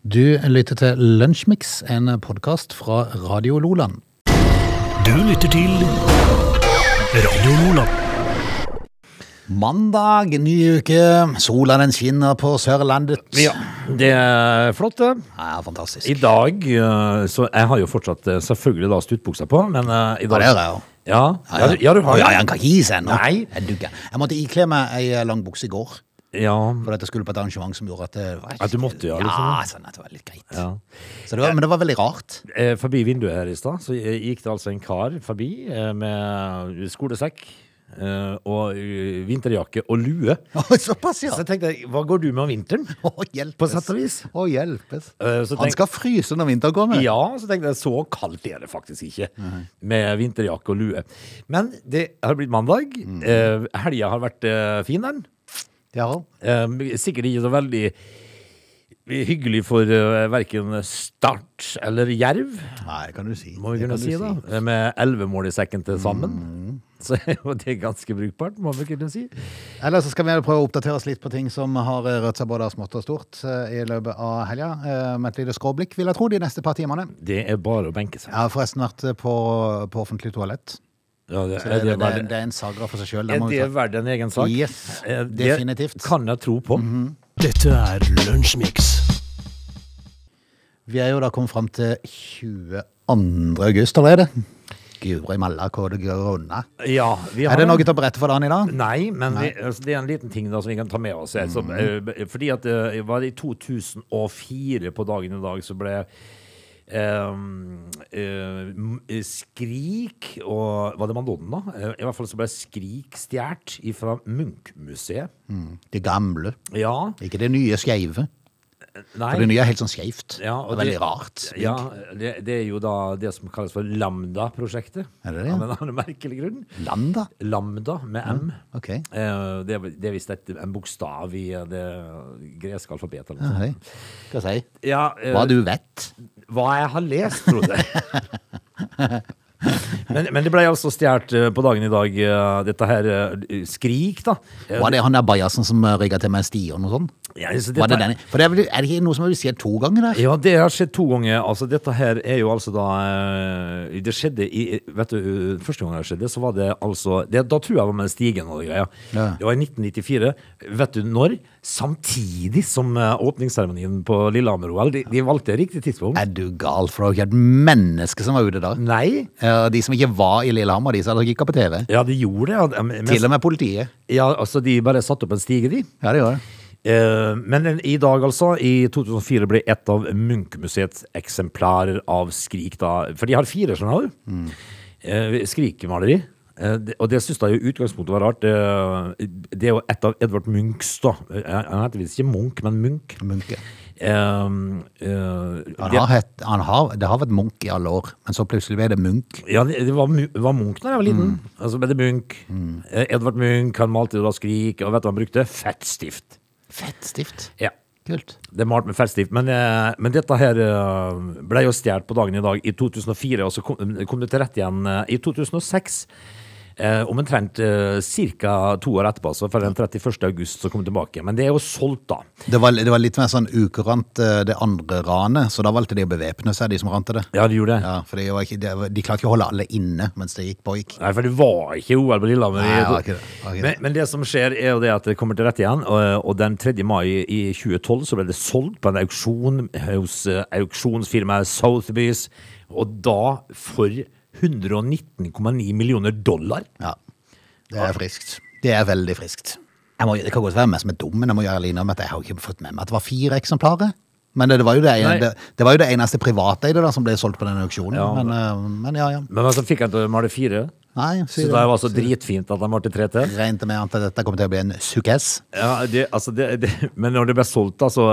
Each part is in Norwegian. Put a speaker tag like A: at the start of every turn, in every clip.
A: Du lytter til Lunsjmix, en podkast fra Radio Loland.
B: Du lytter til Radio Lola.
A: Mandag, ny uke. Sola den skinner på Sørlandet.
C: Ja, det er flott, det.
A: Ja, fantastisk.
C: I dag eh, Så jeg har jo fortsatt eh, selvfølgelig da stuttbuksa på, men eh, i
A: Ja,
C: dag
A: det har jeg jo.
C: Ja, ja, du, ja, du har
A: Å, ja, han kan ikke gi seg ennå.
C: Nei.
A: Jeg dugger. Jeg måtte ikle meg ei eh, lang bukse i går.
C: Ja,
A: For at jeg skulle på et arrangement som gjorde at det var
C: At du måtte, ja,
A: ja.
C: liksom.
A: sånn at det var litt greit.
C: ja.
A: Så det var, men det var veldig rart.
C: Eh, Forbi vinduet her i stad så eh, gikk det altså en kar forbi eh, med skolesekk eh, og eh, vinterjakke og lue.
A: Såpass, ja.
C: Så jeg tenkte jeg, hva går du med om vinteren?
A: Å, hjelpes.
C: På sett og vis.
A: Å, hjelpes.
C: Eh, så
A: Han
C: tenk-
A: skal fryse når vinteren kommer.
C: Ja, så tenkte jeg, så kaldt er det faktisk ikke med vinterjakke og lue. Men det har blitt mandag. Eh, helga har vært eh, fin, den.
A: Ja. vel.
C: Eh, sikkert ikke så veldig hyggelig for eh, verken Start eller Jerv,
A: Nei, det kan du si.
C: må vi
A: Det kan
C: kunne
A: du
C: si, Mm. da. Eh, Med elleve mål i sekken til sammen. Så og det er ganske brukbart, må vi kunne si.
A: Eller så skal vi prøve å oppdatere oss litt på ting som har rørt seg både av smått og stort eh, i løpet av helga. eh, Med et lite skråblikk, vil jeg tro, de neste par timene.
C: Det er bare å benke seg.
A: Jeg har forresten vært eh, på, på offentlig toalett.
C: Ja, det,
A: Så
C: er, det,
A: det,
C: verdt-
A: det, det er en saga for seg sjøl.
C: er det verdt en egen sak?
A: Yes,
C: Eh, det
A: definitivt.
C: Kan jeg tro på.
B: Dette er Lunsjmix.
A: Vi er jo da kommet fram til 22. august allerede. Guri malla, hva det går unna.
C: Ja, vi har
A: Er det noe til å berette for dagen i dag?
C: Nei, men Vi, altså, det er en liten ting da som vi kan ta med oss. her, Som,
A: Mm.
C: eh, b- fordi at eh, var det i 2004 på dagen i dag så ble eh, eh, m- eh, Skrik og Var det Madonna? Eh, I hvert fall så ble Skrik stjålet fra Munch-museet.
A: Det gamle,
C: Ja.
A: ikke det nye skeive.
C: Nei.
A: Mm. For det nye er helt sånn skeivt.
C: Ja, og
A: Veldig
C: det-
A: rart.
C: Ja, det, det er jo da det som kalles for Lambda-prosjektet.
A: Er det det?
C: Av en annen merkelig grunn.
A: Land, da?
C: Lambda med M.
A: Ok.
C: Eh, Det, er- det er visst et, en bokstav i det greske alfabetet. Eller
A: Ja,
C: noe sånt.
A: hei. Hva si?
C: Ja, eh,
A: Hva du vet?
C: hva jeg har lest, Frode. men, men det ble altså stjålet på dagen i dag, eh, dette her eh, Skrik, da. Eh,
A: Var det han der bajasen som rigga til med Stian og sånn?
C: ja, altså,
A: Var
C: dette-
A: det den? For det er, vel, er det ikke noe som er skjedd to ganger der?
C: Ja, det har skjedd to ganger. Altså, dette her er jo altså da eh, Det skjedde i Vet du, første gang det skjedde, så var det altså det, Da tror jeg var med stigen og det greia.
A: Ja.
C: Det var i 1994. Vet du når? Samtidig som eh, åpningsseremonien på Lillehammer-OL. De, de valgte riktig tidspunkt.
A: Er du gal, for det var jo ikke et menneske som var ute da.
C: Nei.
A: Eh, De som ikke var i Lillehammer, de som hadde kikka på TV.
C: Ja, de gjorde det. ja, men-
A: Til og med politiet.
C: Ja, altså, de bare satte opp en stige, de.
A: Ja, det gjør det.
C: Eh, Men en- i dag, altså, i 2004 ble et av Munch-museets eksemplarer av Skrik da For de har fire, skjønner du. Eh, Skrikemaleri. Eh, det- Og det syns jeg jo i utgangspunktet var rart. Eh, Det er jo et av Edvard Munchs, da. Eh, Han heter visst ikke Munch, men Munch.
A: Munke.
C: Eh, eh,
A: Han
C: det-
A: har hett, han har, det har vært Munch i alle år, men så plutselig ble det Munch.
C: Ja, det det var, Mu- var Munch da jeg var liten. Altså ble det Munch. Eh, Edvard Munch, han malte jo da Skrik, og vet du hva han brukte? Fettstift.
A: Fett stift.
C: Ja.
A: Kult.
C: Det er malt med fettstift, men, eh, men dette her eh, ble jo stjålet på dagen i dag i 2004, og så kom, kom det til rett igjen eh, i 2006. Eh, omtrent eh, ca. to år etterpå, så for den 31. august, så kom det tilbake. Men det er jo solgt, da.
A: Det var, det var litt mer sånn ukurant eh, det andre ranet, så da valgte de å bevæpne seg, de som rante det.
C: Ja, det gjorde det.
A: Ja, for de, var ikke, de, var- de klarte ikke å holde alle inne mens det gikk pågikk.
C: Nei, for det var ikke OL på Lillehammer.
A: Nei, det var ikke det. Det var ikke
C: men, men det som skjer, er jo det at det kommer til rett igjen. Og, og den 3. mai i 2012 så ble det solgt på en auksjon hos eh, auksjonsfirmaet Sotheby's, og da for 119,9 millioner dollar.
A: Ja, det er friskt. Det er veldig friskt. Jeg må, det kan godt være meg som er dum, men jeg må gjøre alene om at jeg har ikke fått med meg at det var fire eksemplarer. Men det, det, var jo det,
C: Nei.
A: ene, det, det var jo det eneste private i det da, som ble solgt på den auksjonen.
C: Ja.
A: Men, eh, men ja, ja.
C: Men så fikk han til å male fire.
A: Nei, si
C: Så
A: det.
C: det var så dritfint at han malte tre til.
A: Regnet med at dette kommer til å bli en sukkess.
C: Ja, det, altså det, det, men når det ble solgt, da, så,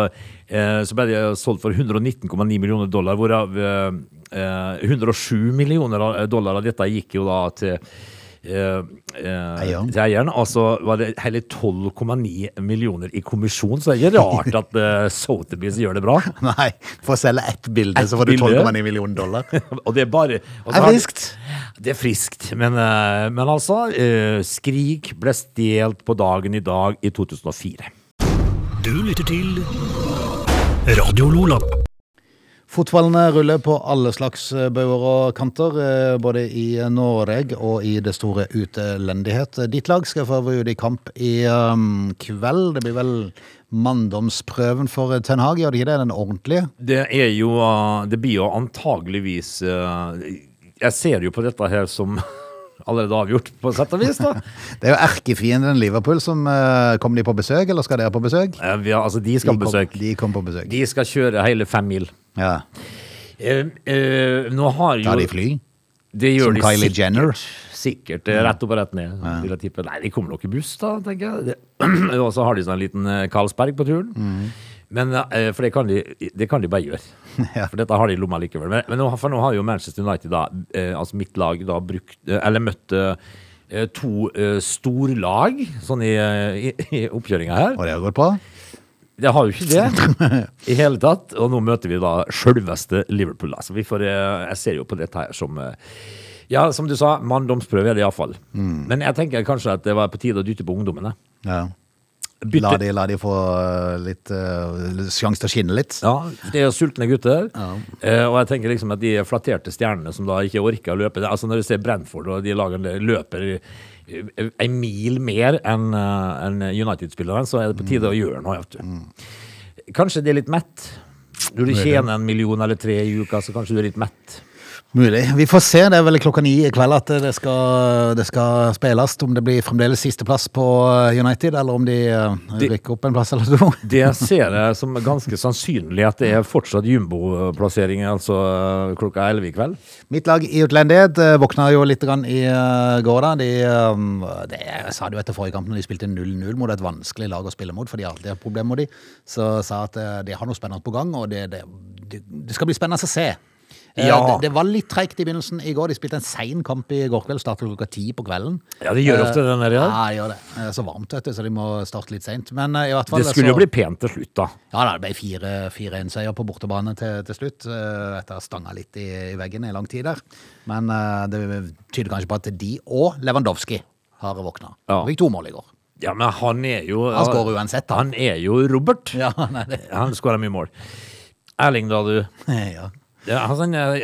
C: eh, så ble det solgt for 119,9 millioner dollar, hvorav eh, eh, 107 millioner av- eh, dollar av dette gikk jo da til eh, eh,
A: Eieren.
C: til eieren. Altså var det hele 12,9 millioner i kommisjon, så det er ikke rart at eh, Sotheby's gjør det bra.
A: Nei, for å selge ett bilde så får du
C: bilde?
A: 12,9 millioner dollar.
C: Og det er bare og
A: Det
C: så
A: er
C: har-
A: friskt.
C: Det er friskt, men, eh, men altså eh, Skrik ble stjålet på dagen i dag i 2004.
B: Du lytter til Radio Lola.
A: Fotballene ruller på alle slags eh, bauger og kanter, eh, både i Norge og i det store utelendighet. Ditt lag skal for øvrig ut i kamp i um, kveld. Det blir vel manndomsprøven for eh, Ten Hag, gjør det ikke det? Den ordentlige?
C: Det er jo eh, Det blir jo antageligvis eh, Jeg ser jo på dette her som allerede avgjort, på sett og vis. da
A: Det er jo erkefienden Liverpool som eh, Kommer de på besøk, eller skal dere på besøk?
C: Eh, vi har, altså, de skal
A: de
C: på besøk.
A: Kom, de kom på besøk.
C: De skal kjøre hele fem mil.
A: Ja.
C: Eh, eh, nå har jo
A: Tar de fly?
C: Det gjør
A: Som
C: de
A: Kylie
C: sikkert.
A: Jenner?
C: Sikkert. eh, Rett opp og rett ned. Vil jeg tippe. Nei, de kommer nok i buss, da, tenker jeg. Det- Og så har de sånn liten eh, Carlsberg på turen. Men, eh, for det kan, de, det kan de bare gjøre.
A: Ja.
C: For dette har de i lomma likevel. Men, men nå, for nå har jo Manchester United, da, eh, altså mitt lag, da brukt eh, Eller møtt eh, to eh, storlag sånn i, eh, i, i oppkjøringa her.
A: Og det har gått bra?
C: Det har jo ikke det i hele tatt. Og nå møter vi da sjølveste Liverpool. Altså, vi får, eh, jeg ser jo på dette her som eh, Ja, som du sa, manndomsprøve er det iallfall. Men jeg tenker kanskje at det var på tide å dytte på ungdommene.
A: Ja. La
C: Bytte.
A: de, la de få eh, litt eh, sjanse til å skinne litt?
C: Ja, det er sultne gutter. Eh, og jeg tenker liksom at de flatterte stjernene som da ikke orker å løpe Altså Når du ser Brentford og de lagene der løper eh, en mil mer enn eh, enn United-spillerne, så er det på tide å gjøre noe. Vet du. Kanskje de er litt mett. Når du tjener en million eller tre i uka, så kanskje du er litt mett.
A: Mulig. Vi får se. Det er vel klokka ni i kveld at det skal, det skal spilles. Om det blir fremdeles sisteplass på United, eller om de eh,
C: De-
A: rykker opp en plass eller to.
C: Det ser jeg som ganske sannsynlig at det er fortsatt jumboplassering, altså eh, klokka elleve i kveld.
A: Mitt lag i utlendighet eh, våkna jo litt grann i eh, går, da. De, eh, det jeg sa det jo etter forrige kamp, når de spilte 0-0 mot et vanskelig lag å spille mot, for de har alltid hatt problemer med de, så sa at eh, de har noe spennende på gang, og det, det, det, det skal bli spennende å se. Eh,
C: Ja.
A: Det, det var litt treigt i begynnelsen i går. De spilte en sein kamp i går kveld, startet klokka ti på kvelden.
C: Ja, de gjør ofte den der, ja.
A: ja. Ja, de gjør det. Det er så varmt, vet du, så de må starte litt seint. Men eh, i hvert fall
C: Det skulle
A: så-
C: jo bli pent til slutt, da.
A: Ja da, det ble fire- 4-1-seier på bortebane til, til slutt. eh, Etter å ha stanga litt i, i veggen i lang tid der. Men eh, det tyder kanskje på at de og Lewandowski har våkna.
C: Ja.
A: Han Fikk to mål i går.
C: Ja, men han er jo
A: Han skårer uansett, da.
C: Han er jo Robert.
A: Ja, nei, det,
C: Han skårer mye mål. Erling, da, du.
A: ja.
C: Ja, altså, han er-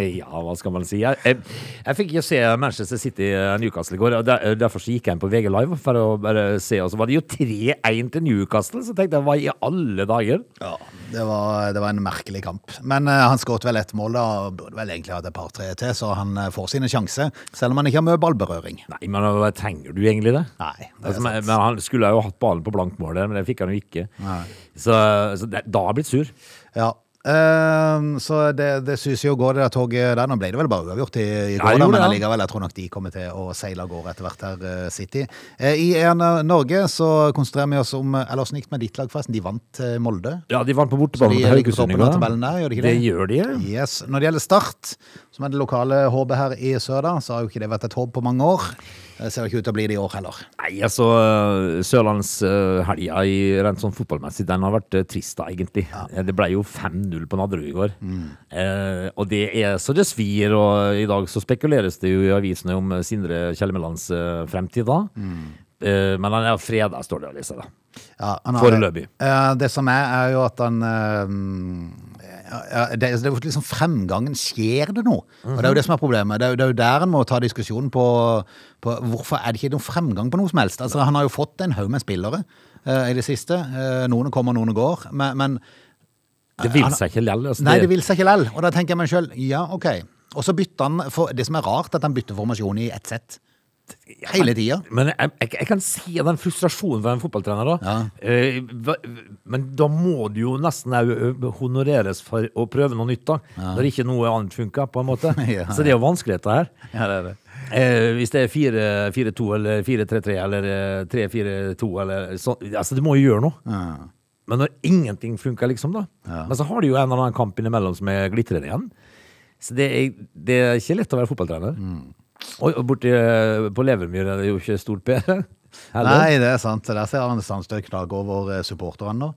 C: ja, hva skal man si? Jeg, jeg, jeg fikk ikke se Manchester City eh, Newcastle i går. og der, Derfor så gikk jeg inn på VG Live for å bare se. Og så var det jo 3-1 til Newcastle, så tenkte jeg hva i alle dager?
A: ja det, var, det var en merkelig kamp. Men eh, han skåret vel ett mål da, og burde vel egentlig hatt et par-tre til, så han eh, får sine sjanser. Selv om han ikke har mye ballberøring.
C: Nei, men hva trenger du egentlig det?
A: Nei, det er
C: altså, men,
A: sant.
C: men han skulle jo hatt ballen på blankt mål, der, men det fikk han jo ikke.
A: Nei.
C: Så, så det, da har jeg blitt sur.
A: Ja. Ehm, så det, det syns jo å gå, det der toget der. Nå ble det vel bare uavgjort i, i
C: Ja,
A: går,
C: det
A: da,
C: gjorde
A: men
C: det.
A: allikevel, jeg tror nok de kommer til å seile av gårde etter hvert her, eh, City. Eh, I EN Norge så konsentrerer vi oss om eh, Eller åssen gikk det med ditt lag, forresten? De vant eh, Molde.
C: Ja, de vant på
A: Så
C: bortebane
A: de
C: mot
A: ligger på
C: Haugesund i
A: toppen av
C: går.
A: tabellen der, gjør de ikke
C: Det
A: det?
C: gjør de.
A: Yes. Når det gjelder Start, som er det lokale håpet her i sør, da, så har jo ikke det vært et håp på mange år. Det ser ikke ut til å bli det i år heller.
C: Nei, altså Sørlandshelga i rent sånn fotballmessig, den har vært eh, trist, da, egentlig. Eh, Det ble jo 5-0 på Nadderud i går.
A: Mm.
C: Eh, og det er så det svir, og i dag så spekuleres det jo i avisene om eh, Sindre Kjelmelands eh, fremtid, da.
A: Mm.
C: Eh, men han er freda, står det å lese, da.
A: Ja, han har det.
C: Foreløpig.
A: Eh, det som er, er jo at han eh, ja, det, det er jo liksom fremgangen skjer det nå. Og det er jo det som er problemet. Det er, jo- det er jo der en må ta diskusjonen på, på hvorfor er det ikke noen fremgang på noe som helst. Altså, han har jo fått en haug med spillere eh, i det siste. Eh, noen kommer, noen går. Men, men
C: Det vil seg ikke lell. Altså,
A: Eh, nei, det vil seg ikke lell. Og da tenker jeg meg sjøl, ja, OK. Og så bytter han for, Det som er rart, at han bytter formasjon i ett sett. Hele tida.
C: Men jeg, jeg, jeg kan si at den frustrasjonen for en fotballtrener da, eh, hva- men da må du jo nesten au- au- honoreres for å prøve noe nytt da, når ikke noe annet funker på en måte.
A: Ja.
C: Så det er jo vanskelig dette her.
A: Ja, det er det.
C: Eh, hvis det er 4-4-2 eller 4-3-3 eller eh, 3-4-2 eller sånn, altså du må jo gjøre noe. Men når ingenting funker liksom da, men så har du jo en eller annen kamp innimellom som er glittrende igjen. Så det er, det er ikke lett å være fotballtrener.
A: Mm.
C: Og og borti eh, på Levermyr er det jo ikke stort bedre. Heller.
A: Nei, det er sant. Der ser Arne Sandstø knage over eh, supporterne nå.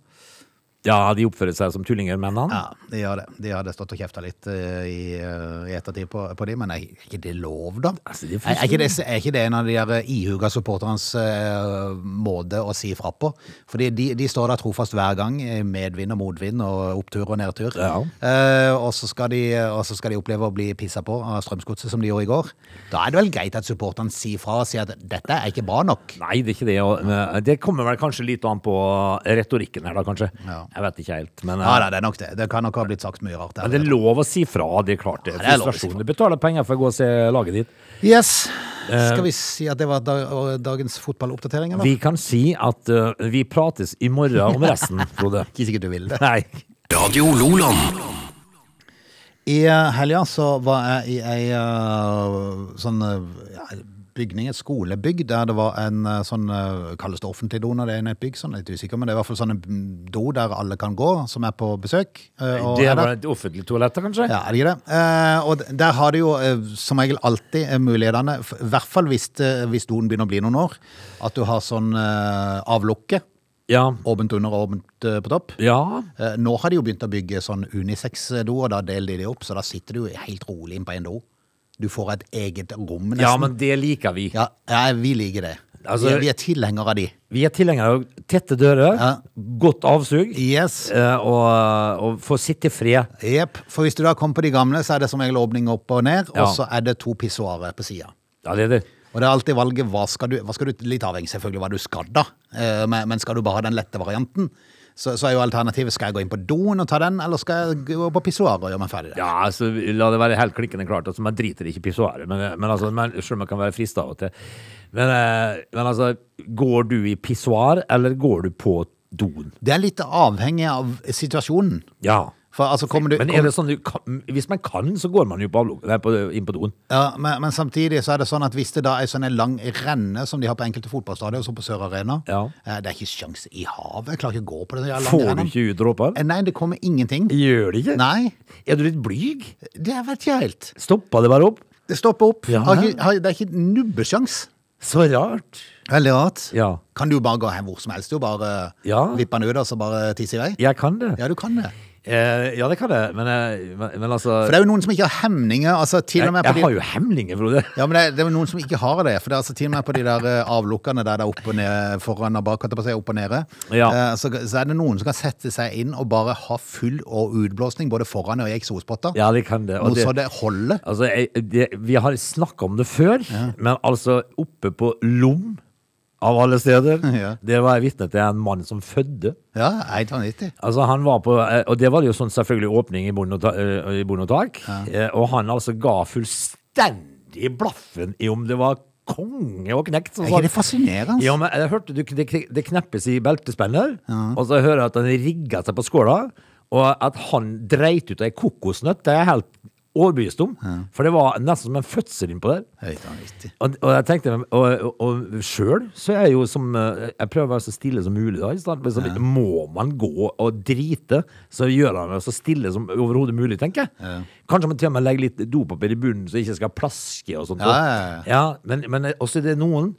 C: Ja, de oppfører seg som tullinger, mennene.
A: Ja, de gjør det. De hadde stått og kjefta litt eh, i, eh, i ettertid på, på de, men er ikke det lov, da?
C: Altså, det er
A: er, er, ikke det, er ikke det en av de der eh, ihuga supporternes eh, måte å si fra på? Fordi de, de står der trofast hver gang, eh, medvind og motvind, og opptur og nedtur.
C: Ja.
A: Eh, og, så skal de, og så skal de oppleve å bli pissa på av Strømsgodset, som de gjorde i går. Da er det vel greit at supporterne sier fra og sier at dette er ikke bra nok.
C: Nei, det er ikke det. og, eh, Det kommer vel kanskje litt an på eh, retorikken her, da, kanskje.
A: Ja.
C: Jeg vet ikke helt. Men, eh,
A: Ja da, det er nok det. Det kan nok ha blitt sagt mye rart. der.
C: men det er lov å si fra, det er klart. Det
A: Ja,
C: er
A: det er lov å si
C: frustrasjon. Du betaler penger for å gå og se laget ditt.
A: Yes. Skal vi si at det var da- dagens fotballoppdatering, eller?
C: Vi kan si at eh, vi prates i morgen om resten, Frode.
A: Ikke sikkert du vil det.
C: Nei.
B: Radio Loland.
A: I eh, helga så var jeg i ei eh, sånn eh, ja, bygning, et skolebygg, der det var en eh, sånn eh, Kalles det offentlig do når det er inne i et bygg? Sånn, litt usikker, men det er i hvert fall sånn en do der alle kan gå, som er på besøk. eh, og
C: Det
A: er der.
C: var et offentlig toalett, kanskje?
A: Ja, er det ikke det? Eh, og d- der har du jo eh, som regel alltid eh, mulighetene, f- i hvert fall hvis, eh, hvis doen begynner å bli noen år, at du har sånn eh, avlukke,
C: Ja.
A: åpent under og åpent eh, på topp.
C: ja.
A: Eh, Nå har de jo begynt å bygge sånn unisex-do, og da deler de det opp, så da sitter du helt rolig inn på en do. Du får et eget rom, nesten.
C: Ja, men det liker vi.
A: Ja, ja, vi liker det.
C: Altså-
A: vi, vi er tilhengere av de.
C: Vi er tilhengere av tette dører,
A: Ja.
C: godt avsug
A: Yes.
C: eh, og, og få sitte i fred.
A: Jep, for hvis du da kommer på de gamle, så er det som regel åpning opp og ned,
C: Ja.
A: og så er det to pissoarer på sida.
C: Ja, det er det.
A: Og det er alltid valget, hva skal du, hva skal du litt avhengig selvfølgelig hva du skal da, eh, men, men skal du bare ha den lette varianten, så, så er jo alternativet, skal jeg gå inn på doen og ta den, eller skal jeg gå på pissoaret og gjøre meg ferdig der?
C: Ja, altså, la det være helt klikkende klart. Altså, man driter ikke i pissoaret, men, men altså, man, selv om man kan være frista av og til. Men, eh, men altså, går du i pissoar, eller går du på doen?
A: Det er litt avhengig av situasjonen.
C: Ja.
A: For altså kommer du
C: Men er det sånn du kan, hvis man kan, så går man jo på, avlo- nei, på, inn på doen.
A: Ja, men, men samtidig så er det sånn at hvis det da er sånn en lang renne som de har på enkelte fotballstadion, som på Sør Arena,
C: Ja.
A: eh, det er ikke sjans i havet. Jeg klarer ikke å gå på den lange
C: Får du
A: rennen.
C: ikke ut dråper?
A: Eh, Nei, det kommer ingenting.
C: Gjør det ikke?
A: Nei,
C: Er du litt blyg?
A: det vet jeg helt.
C: Stopper det bare opp?
A: Det stopper opp.
C: Ja.
A: Har ikke, har, det er ikke nubbesjans.
C: Så rart.
A: Veldig rart.
C: Ja.
A: Kan du bare gå hen hvor som helst, du bare
C: Ja.
A: vipper den ut og så bare tisse i vei?
C: Jeg kan det.
A: Ja, du kan det.
C: Eh, ja, det kan det, men, eh, men, men altså
A: For det er jo noen som ikke har hemninger, altså til
C: jeg,
A: og med på
C: jeg
A: de...
C: har jo hemninger, Frode.
A: Ja, men det, det er jo noen som ikke har det. For det er altså til og med på de der eh, avlukkene der det er opp og ned, foran og bak, holdt jeg på å si, opp og nede,
C: Ja.
A: eh, så, så er det noen som kan sette seg inn og bare ha full og utblåsning både foran og i eksospotter.
C: Ja, det kan det. og
A: Noe
C: det-
A: så det holder.
C: Altså, jeg, det, vi har snakka om det før, men altså oppe på Lom, av alle steder,
A: Ja.
C: der var jeg vitne til en mann som fødde.
A: Ja, jeg tar nyttig.
C: Altså han var på, eh, og Det var jo sånn selvfølgelig åpning i Bond og Ta- eh, i Bond og Tak. eh, Og han altså ga fullstendig blaffen i om det var konge og knekt. som
A: Er ikke
C: sa-
A: det fascinerende?
C: Ja, men jeg hørte du, det, det kneppes i beltespenner, og så hører jeg at han rigga seg på skåla, og at han dreit ut ei kokosnøtt, det er jeg helt overbevist om. For det var nesten som en fødsel innpå der.
A: Jeg tar nyttig.
C: Og, og jeg tenkte, og, og, og sjøl så er jeg jo som eh, Jeg prøver å være så stille som mulig. da, ikke sant? Men så, Må man gå og drite, så gjør han det så stille som overhodet mulig, tenker jeg. Kanskje man til og med legger litt dopapir i bunnen så det ikke skal plaske og sånt.
A: Ja, ja, ja.
C: Ja, men, men også er det noen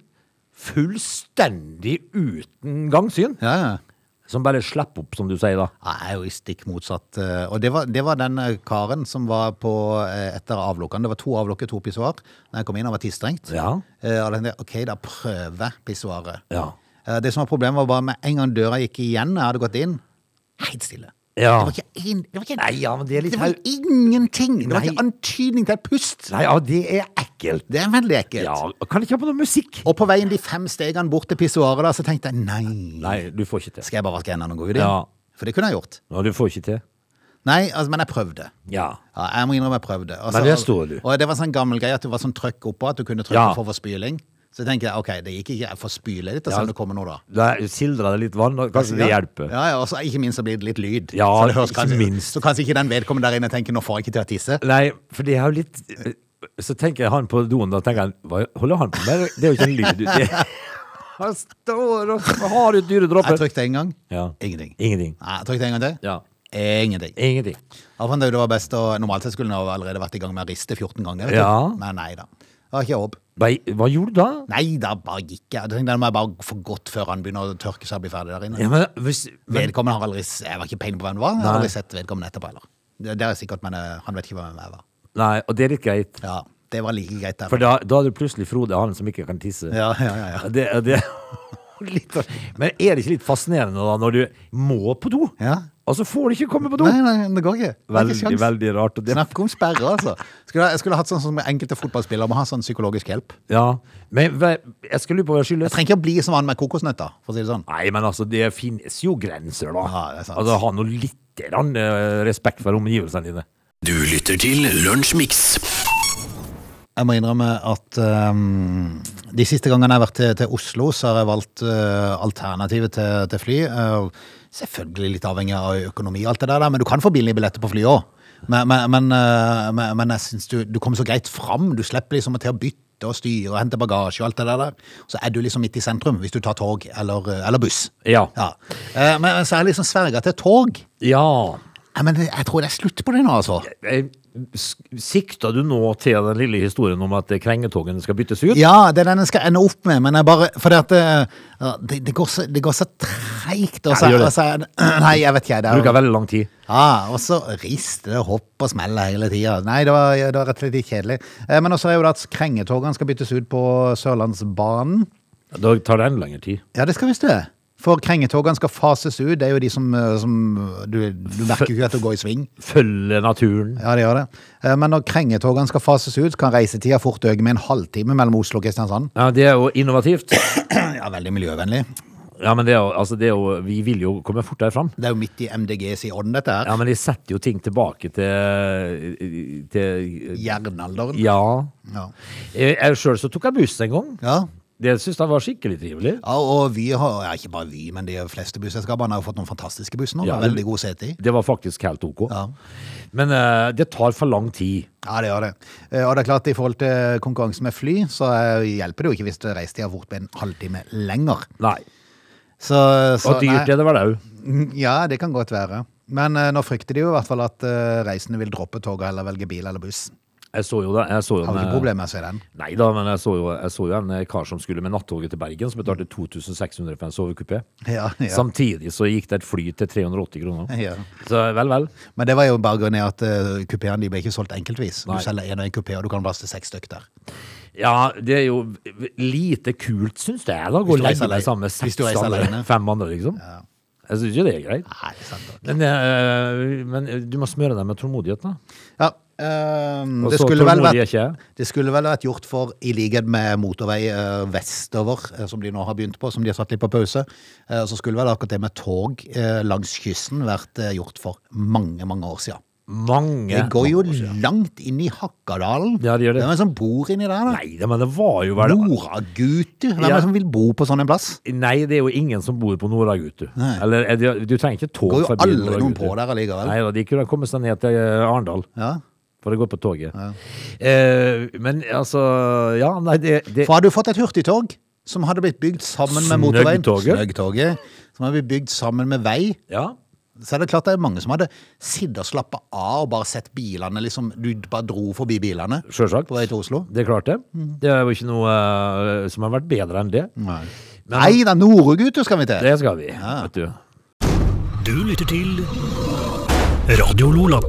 C: fullstendig uten gangsyn
A: Ja, ja.
C: som bare slipper opp, som du sier da.
A: Ja, Jeg er jo i stikk motsatt. eh, Og det var, det var den eh, karen som var på eh, etter avlukkene. Det var to avlukker, to pissoar. Da jeg kom inn, han var tisstrengt.
C: Ja.
A: Eh, Og da tenkte jeg, ok, da prøver jeg pissoaret.
C: Ja.
A: Eh, Det som var problemet var bare med en gang døra gikk igjen, jeg hadde gått inn, helt stille. Det
C: Ja.
A: var ikke en, det var ikke en,
C: Nei, ja, men det er litt
A: det var ingenting. Det var
C: Nei.
A: ikke antydning til et pust.
C: Nei, ja, det er ekkelt.
A: Det er veldig ekkelt.
C: Ja, Kan det ikke ha på noe musikk?
A: Og på veien de fem stegene bort til pissoaret, da, så tenkte jeg nei,
C: Nei, du får ikke til.
A: skal jeg bare vaske hendene og gå ut igjen?
C: Ja.
A: For det kunne jeg gjort.
C: Ja, du får ikke til.
A: Nei, altså, men jeg prøvde.
C: Ja.
A: Ja, jeg må innrømme jeg prøvde. Og
C: Men
A: så-
C: der står du.
A: Og det var sånn gammel greie at det var sånn trøkk oppå, at du kunne trykke
C: Ja.
A: for forspyling. Så tenkte jeg ok, det gikk ikke, jeg får spyle litt, og se
C: Ja.
A: om det kommer noe da.
C: Der sildrer det litt vann, og kanskje det
A: Ja.
C: hjelper.
A: Ja, ja, og så ikke minst så blir det litt lyd.
C: Altså, Ja,
A: så, det høres
C: ikke
A: kanskje,
C: minst.
A: så kanskje ikke den vedkommende der inne tenker nå får jeg ikke til å tisse.
C: Nei, for det er jo litt eh, Så tenker han på doen, da tenker han Hva holder han på med? Det er jo ikke en lyd uti. Han står og har ut dyre
A: Jeg
C: dråper.
A: trykte en gang.
C: Ja.
A: Ingenting.
C: Ingenting.
A: Nei, jeg trykte en gang til.
C: Ja.
A: Ingenting. Jeg
C: Ingenting.
A: fant ut det var best å Normalt sett skulle jeg allerede vært i gang med å riste 14 ganger. vet du.
C: Ja.
A: Men nei da. Har ikke jobb.
C: Nei, hva gjorde du da?
A: Nei, da bare gikk jeg. Jeg tenkte, Den må jeg bare få godt før han begynner å tørke seg og bli ferdig der inne.
C: Ja, men, hvis, men,
A: Vedkommende har aldri s- Jeg var ikke peiling på hvem det var. Jeg har
C: Nei.
A: aldri sett vedkommende etterpå heller. Det, det er sikkert, men eh, han vet ikke hvem jeg var.
C: nei, og det er litt greit.
A: Ja, Det var like greit. Der.
C: For da, da er det plutselig Frode han som ikke kan tisse.
A: Ja, ja, ja, ja.
C: Det, det, litt, av- men er det ikke litt fascinerende da, når du må på do,
A: Ja.
C: og så får du ikke komme på do?
A: Nei, nei, det går ikke. Det er ikke
C: Veldig,
A: sjans.
C: veldig rart. Og det,
A: Snakk om sperre, altså. Skulle, jeg skulle hatt sånn som enkelte fotballspillere må ha sånn psykologisk hjelp.
C: ja. Men hva- jeg skal lure på hva det
A: Jeg
C: skyldes.
A: trenger ikke å bli som han med kokosnøtter, for å si det sånn.
C: Nei, men altså, det finnes jo grenser, da.
A: Ja, det er sant.
C: Altså, ha noe litt grann, eh, respekt for omgivelsene dine.
B: Du lytter til Lunsjmix.
A: Jeg må innrømme at ehm, de siste gangene jeg har vært til, til Oslo, så har jeg valgt eh, alternativet til, til fly. Eh, selvfølgelig litt avhengig av økonomi og alt det der, da, men du kan få billige billetter på flyet òg. Men, men, men, eh, men, men jeg syns du, du kommer så greit fram. Du slipper liksom til å bytte og styre og hente bagasje og alt det der. Så er du liksom midt i sentrum hvis du tar tog eller, eh, eller buss.
C: Ja.
A: Ja. Eh, Men så har jeg liksom sverga til tog.
C: Ja.
A: Nei, Men jeg tror det er slutt på det nå, altså.
C: Eh, s- Sikta du nå til den lille historien om at eh, krengetogene skal byttes ut?
A: Ja, det er den jeg skal ende opp med, men jeg bare Fordi at eh, det, det, går, så, det går så treigt. Og
C: Ja,
A: så,
C: det gjør det.
A: og så, er det- nei, jeg vet ikke. Det
C: Bruker
A: er,
C: veldig lang tid.
A: ja, og så rister det, hopper og smeller hele tida. Nei, det var, det var rett og slett litt kjedelig. Eh, Men også er jo det at krengetogene skal byttes ut på Sørlandsbanen.
C: Da tar det enda lengre tid.
A: Ja, det skal visst det. For krengetogene skal fases ut. Det er jo de som, eh, som du, du merker jo ikke at det går i sving.
C: Følge naturen.
A: Ja, det gjør det. Eh, Men når krengetogene skal fases ut, kan reisetida fort øke med en halvtime mellom Oslo og Kristiansand.
C: Ja, det er jo innovativt.
A: Ja, veldig miljøvennlig.
C: Ja, men det er jo, altså det er jo, vi vil jo komme fortere fram.
A: Det er jo midt i MDGs i ånd, dette her.
C: Ja, men de setter jo ting tilbake til, til
A: Jernalderen.
C: Ja.
A: Ja.
C: Jeg, jeg sjøl så tok jeg buss en gang.
A: ja.
C: Det syns jeg var skikkelig trivelig.
A: Ja, og Vy har ja, ikke bare Vy, men de fleste busselskapene har jo fått noen fantastiske busser nå.
C: Ja,
A: med veldig god sete i.
C: Det var faktisk helt ok.
A: Ja.
C: Men eh, det tar for lang tid.
A: Ja, det gjør det. Eh, Og det er klart, i forhold til konkurransen med fly, så eh, hjelper det jo ikke hvis reisetida fort med en halvtime lenger.
C: Nei.
A: Så, så
C: Og
A: nei.
C: dyrt er det vel òg.
A: Ja, det kan godt være. Men eh, nå frykter de jo i hvert fall at eh, reisende vil droppe toget eller velge bil eller buss.
C: Jeg så jo det. Jeg så jo
A: Har jo
C: en,
A: ikke problemer med å se den.
C: Nei da, men jeg så, jo, jeg så jo en eh, kar som skulle med nattoget til Bergen, som betalte 2600 for en sovekupé.
A: Ja, ja.
C: Samtidig så gikk det et fly til 380 kroner.
A: Ja.
C: Så vel, vel.
A: Men det var jo bare grunn i at eh, kupéene de ble ikke solgt enkeltvis.
C: Nei.
A: Du selger en og en kupé, og du kan laste seks stykk der.
C: Ja, det er jo lite kult, syns jeg, da. Gå
A: Hvis
C: og
A: du reiser
C: legge deg
A: alene.
C: sammen med
A: Hvis
C: seks
A: du reiser
C: andre.
A: alene.
C: Fem andre, liksom. Jeg syns ikke det er greit.
A: Nei, det er sant.
C: Men, eh, men du må smøre deg med tålmodighet, da.
A: Ja, ehm,
C: Og
A: det,
C: så
A: skulle vel
C: tålmodig er
A: vært,
C: ikke jeg.
A: det skulle vel vært gjort for, i likhet med motorvei eh, vestover, eh, som de nå har begynt på, som de har satt litt på pause, eh, så skulle vel akkurat det med tog eh, langs kysten vært eh, gjort for mange, mange år siden.
C: Mange
A: Det går jo langt inn i Hakkadalen.
C: Ja, det gjør det.
A: Hvem er det som bor inni der, da?
C: Nei, det- men det var jo
A: Mm.
C: vel
A: Noragutu? Hvem er
C: Ja.
A: det som vil bo på sånn en plass?
C: Nei, det er jo ingen som bor på Noragutu.
A: Nei.
C: Eller er det, du trenger ikke tog
A: Går jo
C: forbi
A: aldri noen
C: Noragutu.
A: på der allikevel.
C: Nei da, de kunne kommet seg ned til eh, Arendal
A: Ja.
C: for å gå på toget. Eh, men altså Ja, nei, det, det
A: For hadde du fått et hurtigtog som hadde blitt bygd sammen med motorveien
C: Snøggtoget.
A: Snøggtoget, Som hadde blitt bygd sammen med vei
C: Ja.
A: Så er det klart det er mange som hadde Siddet og slappet av og bare sett bilene liksom, Du bare dro forbi bilene
C: Sjølsagt.
A: På vei til Oslo Mm.
C: Det er klart det. Det er jo ikke noe eh, som har vært bedre enn det.
A: Nei,
C: Men-
A: da, Noregutu skal vi til
C: Det skal vi, vet du.
B: Du lytter til Radio Lola.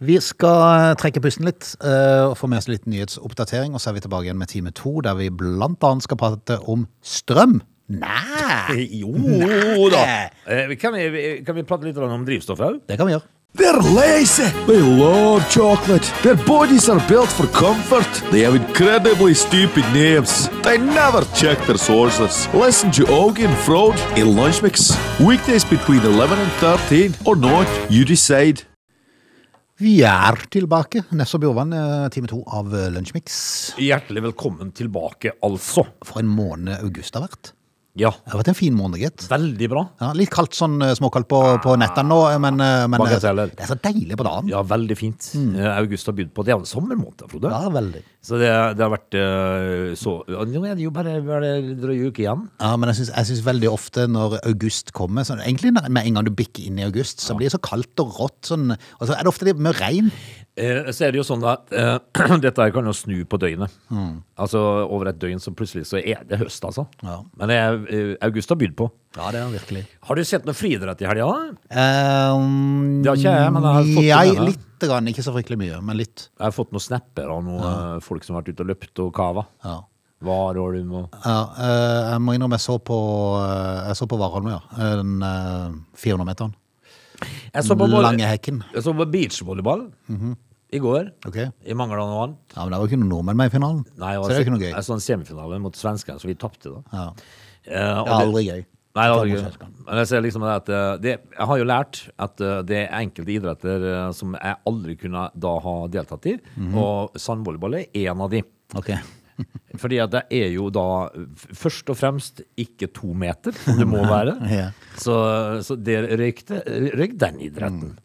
A: Vi skal trekke pusten litt eh, Og få med oss litt nyhetsoppdatering Og så er vi tilbake igjen med time 2 Der vi blant annet skal prate om strøm Nei,
C: Jo da! Eh, Kan vi, kan vi prate litt om drivstoff òg?
A: det kan vi gjøre
D: They're lazy. They love chocolate. Their bodies are built for comfort. They have incredibly stupid names. They never check their sources. Listen to Augie and Frode in Lunch Mix Weekdays between 11 and 13 or not, you decide.
A: Vi er tilbake Ness og Bjørvann, eh, time 2 av eh, Lunchmix
C: Hjertelig velkommen tilbake, altså.
A: For en måned august har vært
C: Ja,
A: Det har vært en fin måned, gitt.
C: veldig bra.
A: Ja, litt kaldt, sånn eh, småkaldt på, på nettene nå, eh, men, eh, men eh,
C: Bagateller.
A: det er så deilig på dagen.
C: Ja, veldig fint. Eh, August har bydd på. Det er jo en sommermåned, Frode.
A: Mm. Ja, veldig.
C: Så det, det har vært eh, så ja, Nå er det jo bare, bare drøye uker igjen.
A: Ja, men jeg syns, jeg syns veldig ofte når august kommer så Egentlig når- med en gang du bikker inn i august, så blir det så kaldt og rått. Sånn, og så er det ofte det med regn.
C: Eh, så er det jo sånn at eh, dette her kan jo snu på døgnet. Altså over et døgn, så plutselig så er det høst, altså.
A: Mm. Ja.
C: Men det er, eh, august har bydd på.
A: Ja, det er han virkelig.
C: Har du sett noe friidrett i helga? da?
A: Um,
C: Det har ikke jeg, men jeg har fått det med
A: jeg,
C: meg.
A: litt, grann, ikke så fryktelig mye, men litt.
C: Jeg har fått noen snapper av noen eh, folk som har vært ute og løpt og kava.
A: Ja.
C: Warholm og
A: Ja, eh, jeg må innrømme jeg så på, eh, jeg så på Varholmøya, den eh, 400 meteren.
C: Jeg så på,
A: Lange Mhm. hekken.
C: jeg så på beachvolleyball i går.
A: Ok. Ja,
C: I mangel av noe annet.
A: men det var jo ikke noen nordmenn med i finalen,
C: Nei, jeg
A: så det er jo ikke noe
C: Jeg
A: gøy.
C: så en semifinale mot svenskene, så vi tapte, da.
A: Ja.
C: Eh, og
A: Det er aldri gøy.
C: Nei, det hadde
A: Takk for
C: jeg ikke. Men jeg ser liksom det at eh, det, Jeg har jo lært at eh, det er enkelte idretter eh, som jeg aldri kunne da ha deltatt i,
A: Mhm.
C: og sandvolleyball er en av de.
A: Ok.
C: Fordi at det er jo da f- først og fremst ikke to meter, som det må være.
A: Ja.
C: Så, så der røyk, det, røyk den idretten.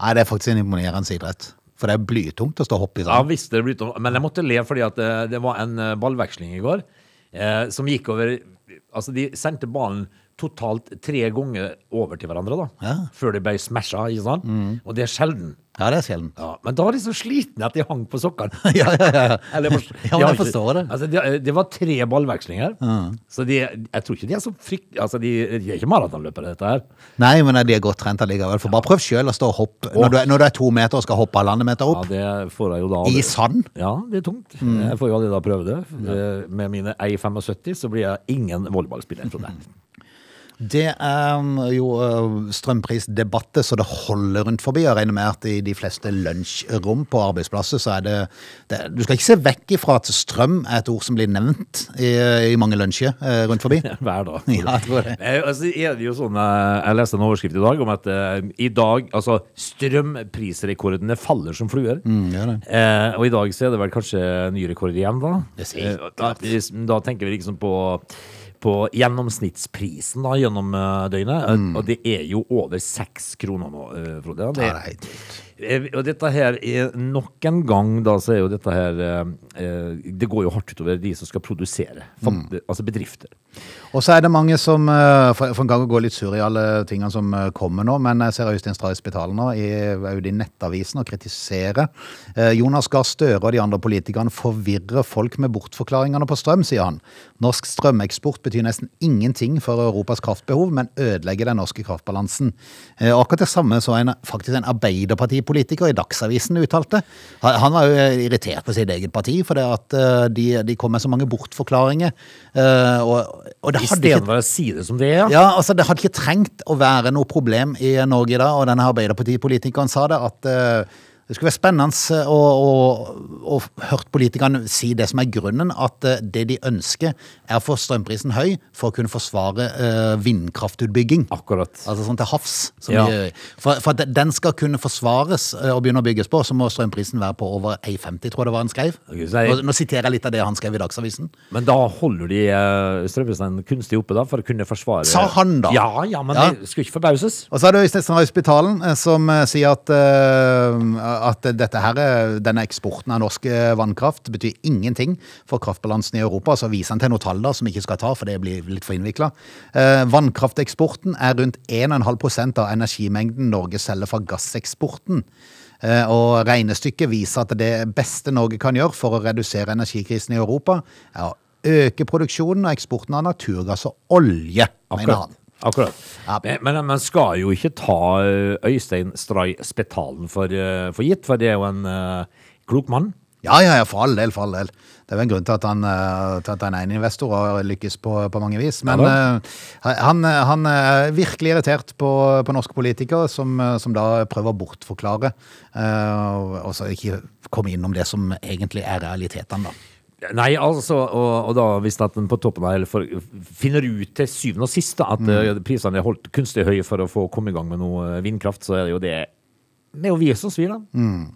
A: Nei, det er faktisk en imponerende idrett. For det er blytungt å stå og hoppe i
C: Ja,
A: sand.
C: visst, det ble utom, men jeg måtte le fordi at det, det var en eh, ballveksling i går eh, som gikk over Altså, de sendte ballen totalt tre ganger over til hverandre, da.
A: Ja. Mm.
C: Før de ble smasha, ikke sant? Og det er sjelden.
A: Ja, det er sjelden.
C: Ja, men da var de så slitne at de hang på sokkene.
A: Ja, ja, ja.
C: Eller for-
A: Ja, men jeg forstår det.
C: Altså, det, det var tre ballvekslinger. Så de, jeg tror ikke de er så frykt... Altså, de, de er ikke maratonløpere, dette her.
A: Nei, men de er godt trent allikevel. For bare prøv sjøl å stå og hoppe. Når du, er, når du er to meter og skal hoppe halvannen meter
C: Ja,
A: opp
C: det får jeg jo da
A: i sand Mm.
C: Ja, det er tungt. Jeg får jo aldri da prøve det. Eh, Med mine 1,75 så blir jeg ingen volleyballspiller, tror
A: Mm.
C: jeg.
A: Det er um, jo ø, strømprisdebatter, så det holder rundt forbi. Jeg regner med at i de fleste lunsjrom på arbeidsplasser, så er det, det Du skal ikke se vekk ifra at strøm er et ord som blir nevnt i, i mange lunsjer ø, rundt forbi.
C: Hver dag.
A: Ja, jeg tror det.
C: Eh, Altså, er det jo sånn, eh, jeg leste en overskrift i dag om at eh, i dag, altså strømprisrekordene faller som fluer.
A: gjør Mm, det.
C: Eh, og i dag så er det vel kanskje ny rekord igjen da.
A: Det sier jeg
C: Eh, da, hvis- da tenker vi liksom på, på gjennomsnittsprisen da, gjennom eh, døgnet. Eh, Og det er jo over 6 kroner nå, eh, Frode.
A: Mm. Ja,
C: Det,
A: det er helt
C: Eh, Og dette her er nok en gang da, så er jo dette her eh, eh, Det går jo hardt utover de som skal produsere, fam-
A: Mm.
C: altså bedrifter.
A: Og så er det mange som eh, For for en gang å gå litt sur i alle tingene som eh, kommer nå, men jeg ser Øystein Stray Spitalen nå i, er ute i Nettavisen og kritiserer. Eh, Jonas Gahr Støre og de andre politikerne forvirrer folk med bortforklaringene på strøm, sier han. Norsk strømeksport betyr nesten ingenting for Europas kraftbehov, men ødelegger den norske kraftbalansen. Eh, og Akkurat det samme så en, faktisk en Arbeiderpartipolitiker i Dagsavisen uttalte. Han han var jo eh, irritert på sitt eget parti, for det at eh, de, de kom med så mange bortforklaringer. eh, og, og det hadde ikke
C: Istedenfor å si det som det er.
A: ja, altså Det hadde ikke trengt å være noe problem i Norge i dag, og denne Arbeiderpartipolitikeren sa det, at eh, det skulle være spennende å, å, å hørt politikerne si det som er grunnen, at eh, det de ønsker er å få strømprisen høy for å kunne forsvare eh, vindkraftutbygging.
C: Akkurat.
A: Altså sånn til havs. Som
C: Ja.
A: de, for, for at den skal kunne forsvares eh, og begynne å bygges på, så må strømprisen være på over 1,50, tror jeg det var han skrev.
C: Ok, så jeg-
A: Nå, nå siterer jeg litt av det han skrev i Dagsavisen.
C: Men da holder de eh, strømprisen kunstig oppe da, for å kunne forsvare
A: Sa han da.
C: Ja, ja, men
A: Ja.
C: det skulle ikke forbauses.
A: Og så er det Øystein Stray Spitalen eh, som eh, sier at, eh, at dette her, eh, denne eksporten av norsk eh, vannkraft betyr ingenting for kraftbalansen i Europa. Så viser han til noen tall da, som vi ikke skal ta, for det blir litt for innvikla. Vannkrafteksporten er rundt 1,5 av energimengden Norge selger fra gasseksporten. Eh, Og regnestykket viser at det beste Norge kan gjøre for å redusere energikrisen i Europa, er å øke produksjonen og eksporten av naturgass og olje, mener
C: Akkurat.
A: han.
C: Akkurat.
A: Ja.
C: Men- Men man skal jo ikke ta eh, Øystein Stray Spetalen for, eh, for gitt, for det er jo en eh, klok mann.
A: Ja, ja, ja, for all del, for all del. Det er jo en grunn til at han, eh, til at han er en investor og lykkes på, på mange vis. Men
C: Ja
A: eh, han, han er virkelig irritert på, på norske politikere som, eh, som da prøver å bortforklare. eh, og- og så ikke komme innom det som egentlig er realitetene, da.
C: Nei, altså, og, og da hvis at den på toppen her for, finner ut til syvende og sist da, at eh, prisene er holdt kunstig høye for å få komme i gang med noe eh, vindkraft, så er det jo det Det er jo vi som svir, da. Eh,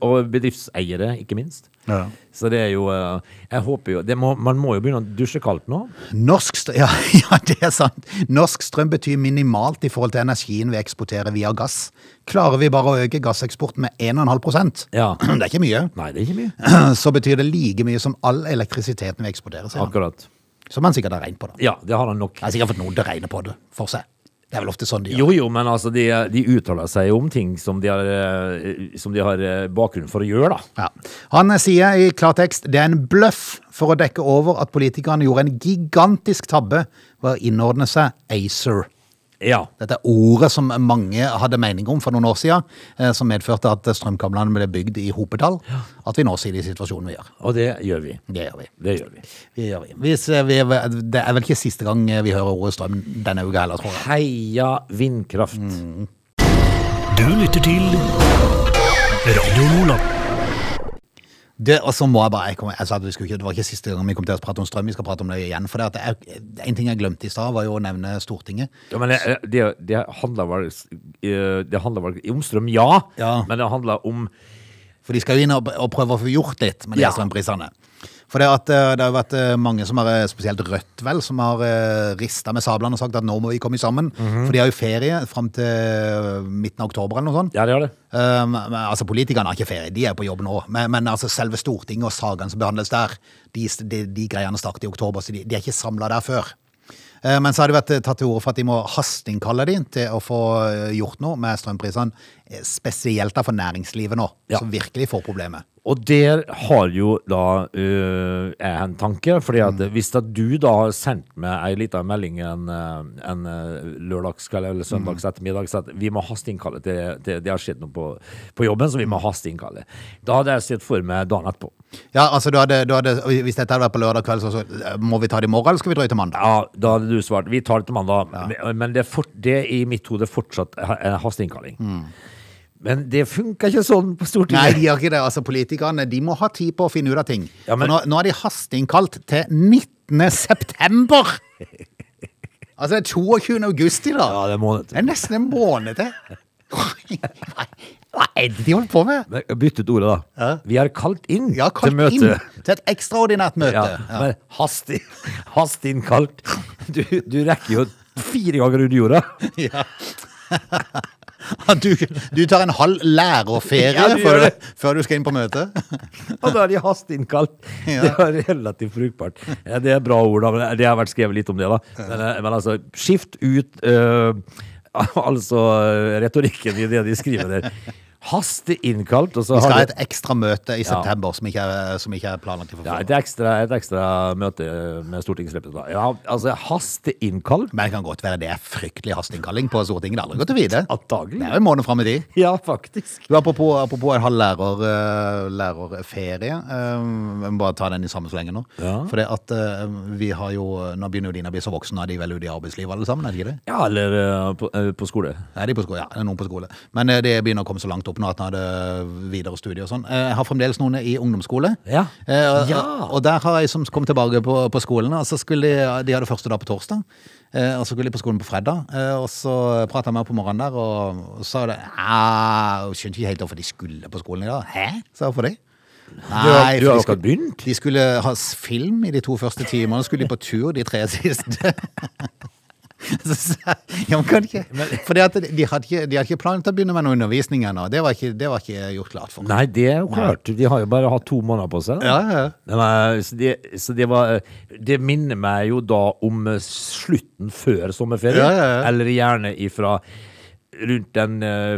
C: Og bedriftseiere, ikke minst.
A: Ja.
C: Så det er jo eh, Jeg håper jo det må, Man må jo begynne å dusje kaldt nå.
A: Norsk strøm, ja, ja, det er sant. Norsk strøm betyr minimalt i forhold til energien vi eksporterer via gass. Klarer vi bare å øke gasseksporten med 1,5
C: Ja.
A: Det er ikke mye.
C: Nei, det er ikke mye.
A: Så betyr det like mye som all elektrisiteten vi eksporterer. sier han.
C: Akkurat.
A: Som han sikkert har regnet på, da.
C: Ja, det har han nok.
A: Jeg har sikkert fått noen til å regne på det for seg. Det er vel ofte sånn de gjør.
C: Jo, jo, men altså, de, de uttaler seg om ting som de har, eh, som de har eh, bakgrunn for å gjøre, da.
A: Ja. Han sier i klartekst det er en bløff for å dekke over at politikerne gjorde en gigantisk tabbe ved å innordne seg ACER.
C: Ja.
A: Dette er ordet som mange hadde mening om for noen år siden, eh, som medførte at strømkablene ble bygd i hopetall. At vi nå sier de situasjonen vi gjør.
C: Og det gjør vi.
A: Det gjør vi.
C: Det gjør vi.
A: Det, gjør vi. Hvis, eh, vi det er vel ikke siste gang vi hører ordet strøm denne uka heller, tror jeg.
C: Heia vindkraft.
B: Du lytter til Radio Lola.
A: Det, og så må jeg bare, jeg, kom, jeg sa at vi skulle ikke, Det var ikke siste gang vi kom til å prate om strøm, vi skal prate om det igjen. For det at det er, En ting jeg glemte i stad, var jo å nevne Stortinget.
C: Ja, men det, det, det handler vel eh, Det handler vel om strøm, ja.
A: Ja.
C: Men det handler om
A: For de skal jo inn og, og prøve å få gjort litt med de
C: Ja.
A: strømprisene. For det, at, eh, det har jo vært eh, mange som har, eh, spesielt Rødt vel, som har rista med sablene og sagt at nå må vi komme sammen. For de har jo ferie fram til eh, midten av oktober eller noe sånt.
C: Ja, det har det.
A: Eh, men, altså Politikerne har ikke ferie, de er på jobb nå. Men, men altså selve Stortinget og sakene som behandles der, de, de, de greiene starter i oktober, så de, de er ikke samla der før. Eh, Men så har det vært eh, tatt til orde for at de må hasteinnkalle de til å få eh, gjort noe med strømprisene, eh, spesielt da for næringslivet nå,
C: Ja.
A: som virkelig får problemet.
C: Og der har jo da øh, jeg en tanke, fordi at hvis at du da har sendt meg ei lita melding en, øh, en øh, lørdagskveld eller søndags ettermiddag så at vi må hasteinnkalle til det, det har skjedd noe på, på jobben, så vi må hasteinnkalle. Da hadde jeg sett for meg dagen etterpå.
A: Ja, altså du hadde, du hadde, Hvis dette hadde vært på lørdag kveld, så, så eh, må vi ta det i morgen, eller skal vi drøye til mandag?
C: Ja, da hadde du svart Vi tar det til mandag. Men- Men det, er fort, det er i mitt hode fortsatt eh, ha- en hasteinnkalling. Men det funka ikke sånn
A: Mm.
C: på
A: Nei,
C: Stortinget.
A: de gjør ikke det. altså Politikerne de må ha tid på å finne ut av ting.
C: Ja, men-
A: For nå, nå er de hasteinnkalt til 19. september! Altså, det er 22. august i dag.
C: Ja, det er måned til.
A: Det er nesten en måned til. Hva er det de holder på med?
C: Men eh, Bytt ut ordet, da. Vi er kalt inn
A: Ja, kalt
C: til møte.
A: inn til et ekstraordinært møte.
C: Ja,
A: Ja.
C: men hastig, hastig innkalt. Du, du rekker jo fire ganger under jorda.
A: Du, du tar en halv lærerferie
C: Ja, du gjør
A: før,
C: det.
A: før du skal inn på møte.
C: Og da er de hastig innkalt.
A: Ja.
C: Det er relativt brukbart. Ja, det er bra ord, da. men Det har vært skrevet litt om det, da. Men, eh, men altså, skift ut eh, altså eh, retorikken i det de skriver der. Hastig innkalt, og så
A: Vi skal ha
C: har
A: et ekstra møte i september som ikke er, som ikke er planlagt. i
C: ja,
A: forfall.
C: et, ekstra, et ekstra møte med stortingsrepresentanter. Ja, altså, hastig innkalt.
A: Men det kan godt være det er fryktelig hasteinnkalling på Stortinget. Det har aldri gått til vide.
C: Antagelig.
A: Det er jo en måned fram i tid.
C: Ja, faktisk.
A: Du, apropos, apropos en halv lærer, eh, lærerferie. eh, Jeg må bare ta den i samme slenge nå.
C: Ja.
A: For det at eh, vi har jo Nå begynner jo dine å bli så voksne, nå er de vel ute i arbeidslivet alle sammen? er de ikke det?
C: Ja, eller eh, på, eh, på skole.
A: Nei, de er på skole, ja, det er noen på skole. Men eh, det begynner å komme så langt opp nå at nå er det videre studier og sånn. Eh, Jeg har fremdeles noen i ungdomsskole.
C: Ja.
A: Eh, og-
C: Ja.
A: Og der har jeg som kom tilbake på, på skolen, og så skulle de, de hadde første dag på torsdag, eh, og så skulle de på skolen på fredag, eh, og så pratet jeg med henne på morgenen der, og og sa det, «Ah, jeg skjønte ikke helt hvorfor de skulle på skolen i dag. Hæ? Sa jeg for det. Nei, for
C: du har
A: de skulle-
C: akkurat begynt.
A: De skulle ha s- film i de to første timene, skulle de på tur de tre siste. Så sa jeg, ja, men kan ikke. Fordi at de de hadde ikke, de hadde ikke planlagt å begynne med noe undervisning ennå. Det, var ikke- det var ikke gjort klart for meg.
C: Nei, det er jo klart. De har jo bare hatt to måneder på seg.
A: Ja, ja, ja.
C: Nei, nei, så, det, så det var Det minner meg jo da om eh, slutten før sommerferie.
A: Ja, ja, ja.
C: Eller gjerne ifra rundt den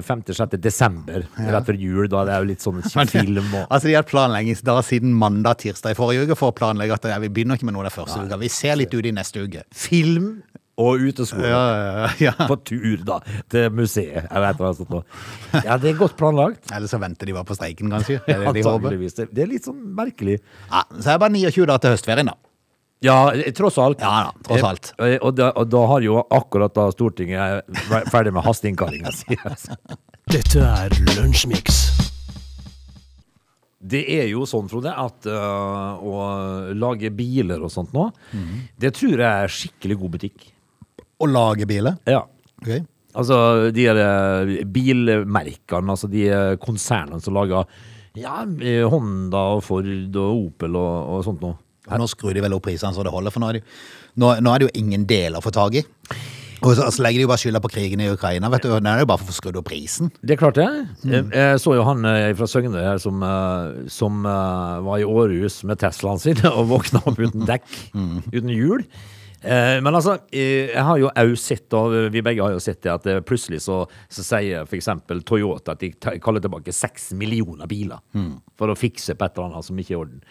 C: 5.-6. desember, rett før jul. Da det er jo litt sånn film og
A: Altså, De hadde planleggingsdag siden mandag tirsdag i forrige uke for å planlegge at ja, vi begynner ikke med noe den første uka. Vi ser litt ut i neste uke.
C: Film og uteskole.
A: Ja, ja, ja.
C: På tur, da, til museet eller et eller annet sånt. noe. Ja, det er godt planlagt.
A: Eller så venter de bare på streiken, kanskje. Det er det de håper.
C: Antakeligvis. Det det er litt sånn merkelig.
A: Ja, så er det bare 29 dager til høstferien, da.
C: Ja, eh, tross alt.
A: Ja da, tross alt.
C: Eh, Og da, og da har jo akkurat da Stortinget er ver- ferdig med hasteinnkallinga si. altså.
B: Dette er Lunsjmix.
C: Det er jo sånn, Frode, at øh, å lage biler og sånt nå, det tror jeg er skikkelig god butikk.
A: Å lage biler.
C: Ja.
A: Ok.
C: Altså de der eh, bilmerkene, altså de eh, konsernene som lager ja, eh, Honda og Ford og Opel og, og sånt noe.
A: Nå skrur de vel opp prisene så det holder, for nå er det, jo- nå, nå er det jo ingen deler å få tak i. Og så, så legger de jo bare skylda på krigen i Ukraina, vet du. Nå er det jo bare for å få skrudd opp prisen.
C: Det klarte jeg. Jeg- Jeg så jo han eh, fra Søgne her som, eh, som eh, var i Århus med Teslaen sin og våkna opp uten dekk, uten hjul. Eh, Eh, Men altså, eh, jeg har jo òg sett, og vi begge har jo sett det, at eh, plutselig så, så sier f.eks. Toyota at de ta- kaller tilbake seks millioner biler for å fikse på et eller annet som ikke er i orden.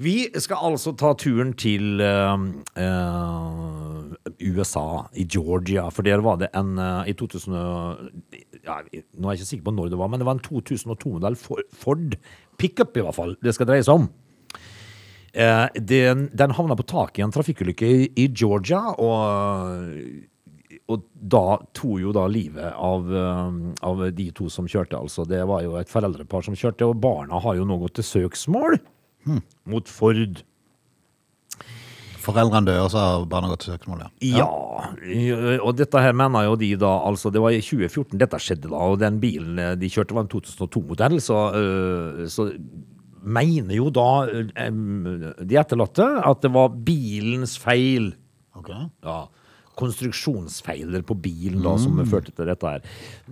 C: Vi skal altså ta turen til eh, eh, USA, i Georgia, for der var det en eh, i 2000 og- ja, Nå er jeg ikke sikker på når det var, men det var en 2002-modell Ford pickup, i hvert fall, det skal dreie seg om. Eh, den, den havna på taket i en trafikkulykke i, i Georgia, og, og da tog jo da livet av, eh, av de to som kjørte, altså. Det var jo et foreldrepar som kjørte, og barna har jo nå gått til søksmål mot Ford.
A: Foreldrene dør, og så har barna gått til søksmål, ja.
C: Ja, og dette her mener jo de da, altså det var i 2014 dette skjedde da, og den bilen eh, de kjørte var en 2002-modell, så, eh, så mener jo da eh, em, de etterlatte at det var bilens feil.
A: Ok.
C: Ja, konstruksjonsfeiler på bilen da, som førte til dette her.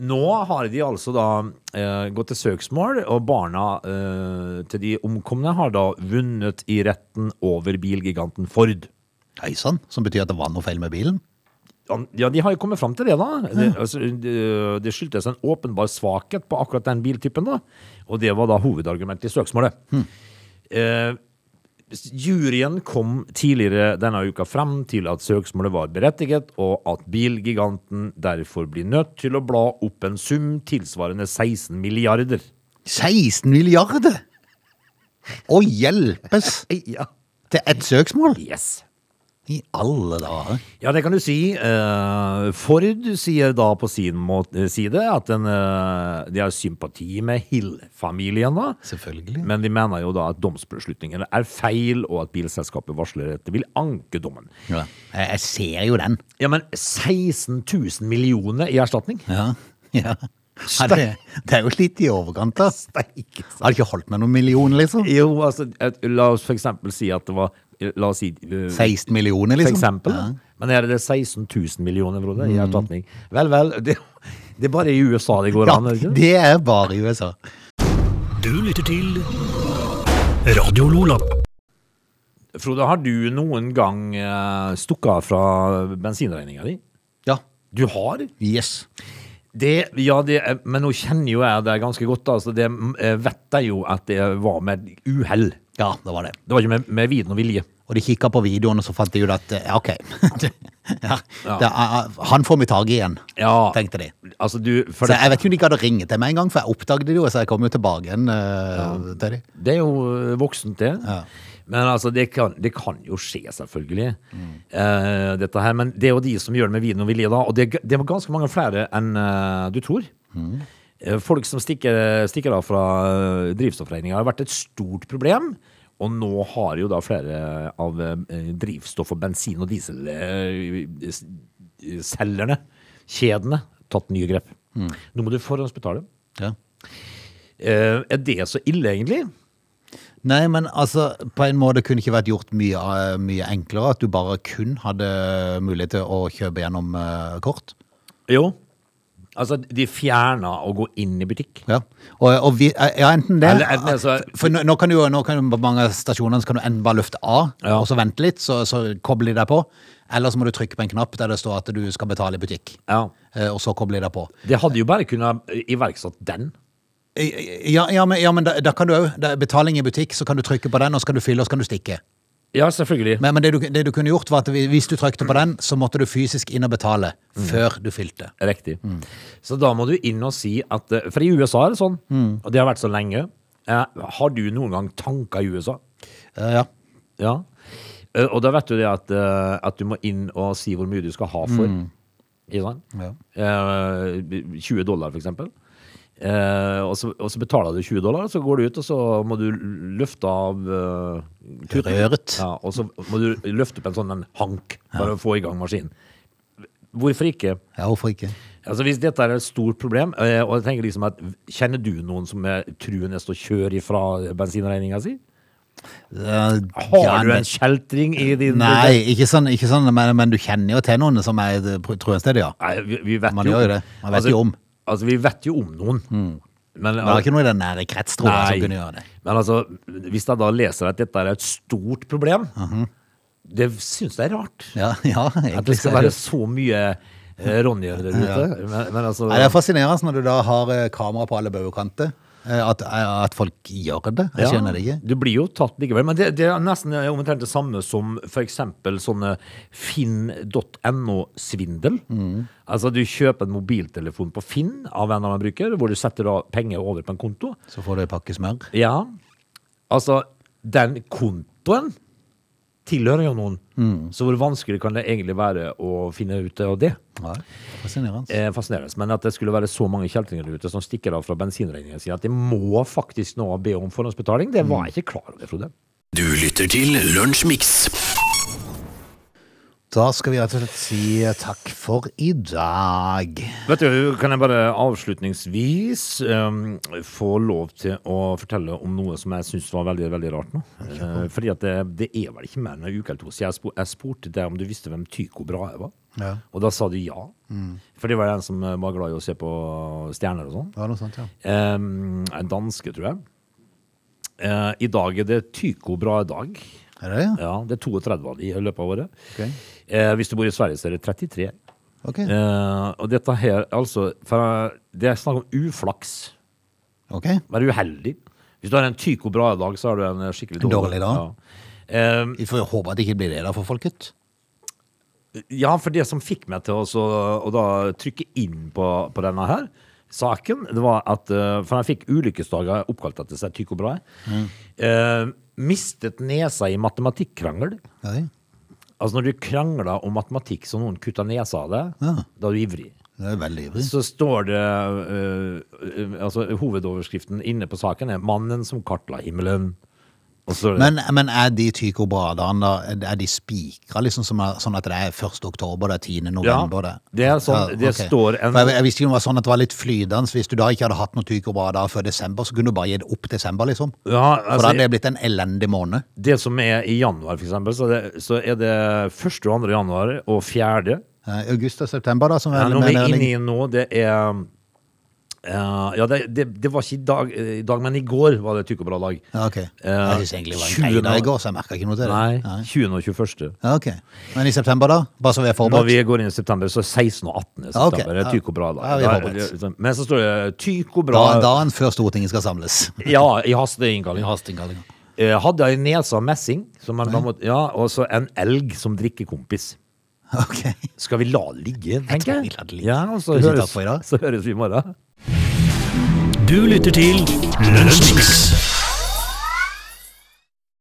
C: Nå har de altså da eh, gått til søksmål, og barna eh, til de omkomne har da vunnet i retten over bilgiganten Ford.
A: Hei sann, som betyr at det var noe feil med bilen?
C: Han- Ja, de har jo kommet fram til det, da. Det, altså, det, det skyldtes en åpenbar svakhet på akkurat den biltypen, da. Og det var da hovedargumentet i søksmålet. Eh, juryen kom tidligere denne uka frem til at søksmålet var berettiget, og at bilgiganten derfor blir nødt til å bla opp en sum tilsvarende 16 milliarder.
A: 16 milliarder! Å hjelpes!
C: Ja.
A: Til ett søksmål?
C: Yes.
A: I alle dager.
C: Ja, det kan du si. Eh, Ford sier da på sin må- side at den, eh, de har sympati med Hill-familien, da.
A: Selvfølgelig.
C: Men de mener jo da at domsbeslutningen er feil, og at bilselskapet varsler at de vil anke dommen.
A: Ja. Jeg, jeg ser jo den.
C: Ja, men 16 000 millioner i erstatning?
A: Ja. ja. Ja, det, det er jo litt i overkant, da.
C: Steike
A: Har det ikke holdt med noen million, liksom?
C: Jo, altså, et- la oss for eksempel si at det var La oss si eh,
A: 16 millioner,
C: For
A: liksom?
C: eksempel.
A: Ja. Mm.
C: Men her er det 16 000 millioner, Frode, i erstatning? Vel, vel. Det, det er bare i USA det går an. er det ikke
A: Ja,
C: det?
A: det er bare i USA.
B: Du lytter til Radio Lola.
C: Frode, har du noen gang eh, stukket av fra bensinregninga di?
A: Ja.
C: Du har?
A: Yes.
C: Det, ja, det, eh, men nå kjenner jo jeg det ganske godt. Altså, det eh, vet jeg jo at det var med uhell.
A: Ja, det var det.
C: Det var ikke med, med viten og vilje.
A: Og de kikka på videoen, og så fant de ut at eh, OK. ja,
C: Ja.
A: det er- eh, han får vi tak i igjen,
C: Ja.
A: tenkte de.
C: Altså, du, for
A: Så
C: det,
A: jeg vet ikke om de ikke hadde ringt til meg engang, for jeg oppdaget det jo, så jeg kom jo tilbake igjen eh, til de.
C: det er jo eh, voksent, det.
A: Ja.
C: Men altså, det kan, det kan jo skje, selvfølgelig, eh, dette her. Men det er jo de som gjør det med viten og vilje, da. Og det, er g- det var ganske mange flere enn eh, du tror. Eh, Folk som stikker, stikker av fra eh, drivstoffregninga har vært et stort problem. Og nå har jo da flere av eh, drivstoff- og bensin- og dieselselgerne, kjedene, tatt nye grep. Nå må du forhåndsbetale.
A: Ja.
C: Eh, er det så ille, egentlig?
A: Nei, men altså, på en måte kunne det ikke vært gjort mye, eh, mye enklere at du bare kun hadde mulighet til å kjøpe gjennom eh, kort.
C: Jo. Altså, de fjerna å gå inn i butikk.
A: Ja, og, og vi, eh, ja enten det eh,
C: Eller enten altså-
A: For nå, nå kan du jo nå kan, du på mange stasjoner så kan du enten bare løfte av,
C: Ja.
A: og så vente litt, så, så kobler de deg på. Eller så må du trykke på en knapp der det står at du skal betale i butikk.
C: Ja.
A: Eh, Og så kobler de deg på.
C: Det hadde jo bare kunnet iverksatt den.
A: Eh, Ja, ja men, ja, men da, da kan du òg Betaling i butikk, så kan du trykke på den, og så kan du fylle, og så kan du stikke.
C: Ja, selvfølgelig.
A: Men, men det, du, det du kunne gjort, var at vi- hvis du trykte på den, så måtte du fysisk inn og betale
C: Mm.
A: før du fylte.
C: Riktig. Så da må du inn og si at eh, For i USA er det sånn, og det har vært så lenge. Eh, har du noen gang tanka i USA?
A: Eh, ja.
C: Ja. Eh, og da vet du det at, eh, at du må inn og si hvor mye du skal ha for. Ikke sant?
A: Ja.
C: Eh, 20 dollar, for eksempel. Eh, og, så, og så betaler du 20 dollar, og så går du ut, og så må du løfte av eh, tuten.
A: Røret.
C: Ja, og så må du løfte opp en sånn en hank for å få i gang maskinen. Hvorfor ikke?
A: ja, hvorfor ikke?
C: Altså Hvis dette er et stort problem, eh, og jeg tenker liksom at kjenner du noen som er truenest å kjøre ifra bensinregninga si?
A: Har
C: Har du en kjeltring i din
A: Nei, ikke sånn, ikke sånn men, men du kjenner jo til noen som er eh, pro- troenstedige, ja.
C: Nei, vi, vi vet
A: Man
C: jo
A: gjør jo det. Man vet jo om. Mm.
C: Altså, vi vet jo om noen. Men, altså,
A: Men det er ikke noe i den nære krets, tror jeg,
C: Nei.
A: som kunne gjøre det.
C: Men altså, hvis jeg da leser at dette er et stort problem, Det syns jeg er rart.
A: Mhm. Ja, ja
C: At det
A: egentlig.
C: skal
A: så er
C: være
A: det-
C: så mye eh, Ronjer der ute. Men, men altså
A: Nei, det er fascinerende når du da har eh, kamera på alle baugekanter. eh, At, at folk gjør det. Jeg skjønner det ikke.
C: Du blir jo tatt likevel. Men det, det er nesten eh, omtrent det samme som f.eks. sånne finn.no-svindel.
A: Mhm.
C: Altså, du kjøper en mobiltelefon på Finn av en av en bruker, hvor du setter da penger over på en konto.
A: Så får du en pakke smør.
C: Ja, altså den kontoen tilhører jo noen. Så hvor vanskelig kan det egentlig være å finne ut av det?
A: Ja, fascinerende.
C: Eh, fascinerende. Men at det skulle være så mange kjeltringer der ute som stikker av fra bensinregningen sin at de må faktisk nå be om forhåndsbetaling, det var jeg ikke klar over, Frode.
B: Du lytter til Lunsjmix.
A: Da skal vi rett og slett si eh, takk for i dag.
C: Vet du, Kan jeg bare avslutningsvis um, få lov til å fortelle om noe som jeg syns var veldig veldig rart nå? Eh, fordi at det, det er vel ikke mer enn en uke eller to siden jeg, spo- jeg spurte deg om du visste hvem Tycho Brahe var.
A: Ja.
C: Og da sa du ja.
A: Mm.
C: For det var en som eh, var glad i å se på stjerner og sånn.
A: Det var noe sånt, ja.
C: Um, en danske, tror jeg. Eh, I dag er det Tycho Brahe-dag.
A: Er det det?
C: Ja, det er 32 av de i løpet av året.
A: Ok.
C: Eh, hvis du bor i Sverige, så er det 33.
A: Ok.
C: Eh, og dette her, altså fra, Det er snakk om uflaks.
A: Ok.
C: Være uheldig. Hvis du har en Tycho Brahe-dag, så har du en skikkelig
A: En dårlig
C: dårlig,
A: dag.
C: Ja. Eh,
A: Vi får jo håpe at det ikke blir det da for folk ut.
C: Ja, for det som fikk meg til å så- å da trykke inn på, på denne her saken, det var at eh, For jeg fikk ulykkesdager oppkalt etter seg Tycho Brahe. Eh, mistet nesa i matematikkrangel.
A: Nei.
C: Altså når du krangler om matematikk så noen kutter nesa av deg,
A: Ja.
C: da er du ivrig.
A: Det er veldig ivrig.
C: Så står det eh, eh, Altså hovedoverskriften inne på saken er 'Mannen som kartla himmelen'. Og så,
A: Men, men er de Tycho Brahe-dagene da, er de spikra liksom som er, sånn at det er 1. oktober, det er 10. november?
C: Ja, det er sånn- det
A: ok.
C: står en-
A: For jeg, jeg visste ikke om det var sånn at det var litt flytende. så Hvis du da ikke hadde hatt noen Tycho Brahe-dag før desember, så kunne du bare gitt opp desember, liksom.
C: Ja, altså-
A: For da hadde det blitt en elendig måned.
C: Det som er i januar, for eksempel, så, er det, så er det 1. og 2. januar og 4.
A: Eh, August og september, da, som
C: Ja,
A: vel
C: når vi
A: mener-
C: er inne i nå, det er eh, ja, det, det, det var ikke i dag, eh, i dag, men i går var det Tycho Brahe-dag.
A: Ja, ok.
C: Eh,
A: jeg syns egentlig det var
C: 20.
A: en grei dag i går, så jeg merka ikke noe til det.
C: Nei, 20. og 21.
A: Ja, ok. Men i september, da? Bare så vi er
C: Når
A: forberedt?
C: vi går inn i september, så er 16. og 18.
A: Ja, ok.
C: september det er Tycho Brahe-dag.
A: Ja, vi
C: Da er
A: forberedt.
C: det liksom- Men så står det Tycho
A: Da,
C: Brahe
A: dagen før Stortinget skal samles.
C: Ja, i hasteinnkalling.
A: Hasteinnkallinga.
C: Eh, Hadde ei nese av messing, som man da måtte, ja, og så en elg som drikkekompis.
A: Ok.
C: Skal vi la det ligge, tenker
A: tror
C: jeg.
A: vi lar det ligge.
C: Ja, og
A: Skal
C: så
A: vi si
C: høres,
A: takk for i dag?
C: så høres vi i morgen.
B: Du lytter til Lunsjmix.